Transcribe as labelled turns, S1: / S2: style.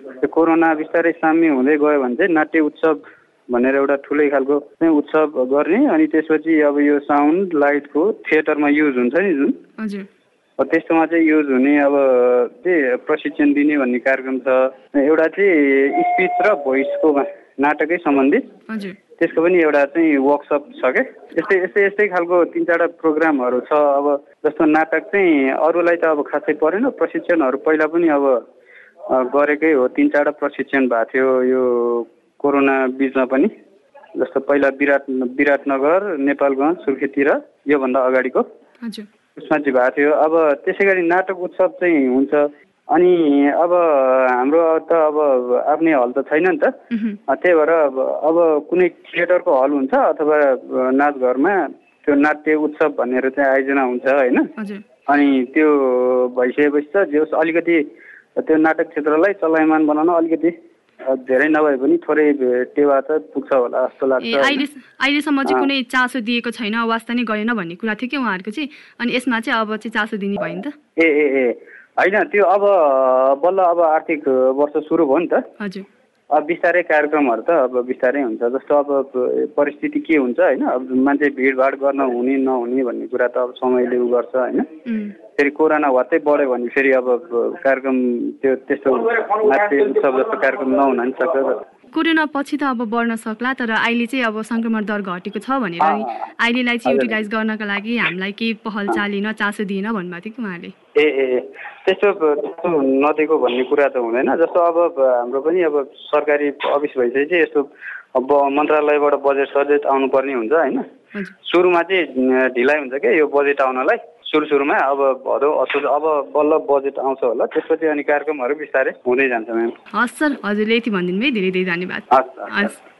S1: त्यो कोरोना बिस्तारै साम्य हुँदै गयो भने चाहिँ नाट्य उत्सव भनेर एउटा ठुलै खालको चाहिँ उत्सव गर्ने अनि त्यसपछि अब यो साउन्ड लाइटको थिएटरमा युज हुन्छ नि जुन
S2: हजुर
S1: अब त्यस्तोमा चाहिँ युज हुने अब चाहिँ प्रशिक्षण दिने भन्ने कार्यक्रम छ एउटा चाहिँ स्पिच र भोइसकोमा नाटकै सम्बन्धित
S2: हजुर
S1: त्यसको पनि एउटा चाहिँ वर्कसप छ क्या यस्तै यस्तै यस्तै खालको तिन चारवटा प्रोग्रामहरू छ अब जस्तो नाटक चाहिँ अरूलाई त अब खासै परेन प्रशिक्षणहरू पहिला पनि अब अ, गरेकै हो तिन चारवटा प्रशिक्षण भएको थियो यो कोरोना बिचमा पनि जस्तो पहिला विराट विराटनगर नेपालगञ्ज सुर्खेततिर योभन्दा अगाडिको
S2: हजुर
S1: उसमा चाहिँ भएको थियो अब त्यसै गरी नाटक उत्सव चाहिँ हुन्छ अनि अब हाम्रो त अब आफ्नै हल त छैन नि त
S2: उहुँ,
S1: अँ, त्यही भएर अब अब कुनै थिएटरको हल हुन्छ अथवा अ, नाचघरमा त्यो नाट्य उत्सव भनेर चाहिँ आयोजना हुन्छ होइन
S2: हजुर
S1: अनि त्यो भइसकेपछि त जे होस् अलिकति त्यो नाटक क्षेत्रलाई चलायमान बनाउन अलिकति अ, धेरै नभए पनि थोरै अ, टेवा त पुग्छ होला जस्तो लाग्छ
S2: ए
S1: होइन?
S2: अहिले अहिलेसम्म चाहिँ
S1: अँ।
S2: कुनै चासो दिएको छैन वास्ता नै गरेन भन्ने कुरा थियो कि उहाँहरूको चाहिँ अनि यसमा चाहिँ अब चाहिँ चासो दिने भयो नि त
S1: ए ए ए होइन त्यो अब बल्ल अब आर्थिक वर्ष सुरु भयो नि त
S2: हजुर
S1: अब बिस्तारै कार्यक्रमहरू त अब बिस्तारै हुन्छ जस्तो अब परिस्थिति के हुन्छ होइन अब मान्छे भिडभाड गर्न हुने नहुने भन्ने कुरा त अब समयले उ गर्छ होइन
S2: उम्,
S1: फेरि कोरोना वात्तै बढ्यो भने फेरि अब कार्यक्रम त्यो त्यस्तो नाट्य उत्सव जस्तो कार्यक्रम नहुन पनि सक्छ
S2: कोरोना पछि त अब बढ्न सक्ला तर अहिले चाहिँ अब सङ्क्रमण दर घटेको छ भनेर नि
S1: अँ।
S2: अहिलेलाई चाहिँ
S1: हजुर।
S2: युटिलाइज गर्नका लागि हामीलाई केही पहल चालिन चासो दिएन भन्नुभएको थियो कि उहाँले
S1: ए ए ए, त्यस्तो त्यस्तो नदिएको भन्ने कुरा त हुँदैन जस्तो अब हाम्रो पनि अब सरकारी अफिस भइसकेपछि यस्तो अब मन्त्रालयबाट बजेट सजेट आउनुपर्ने हुन्छ होइन
S2: हजुर
S1: सुरुमा चाहिँ अँ, ढिलाइ हुन्छ क्या यो बजेट आउनलाई सुरु सुरुमा अब भदौ असोज अब बल्ल बजेट आउँछ होला त्यसपछि अनि कार्यक्रमहरू बिस्तारै हुँदै जान्छ म्याम
S2: हस् सर हजुरले यति भनिदिनु भयो धेरै धेरै धन्यवाद
S1: हस् हस्, हस्
S2: हस्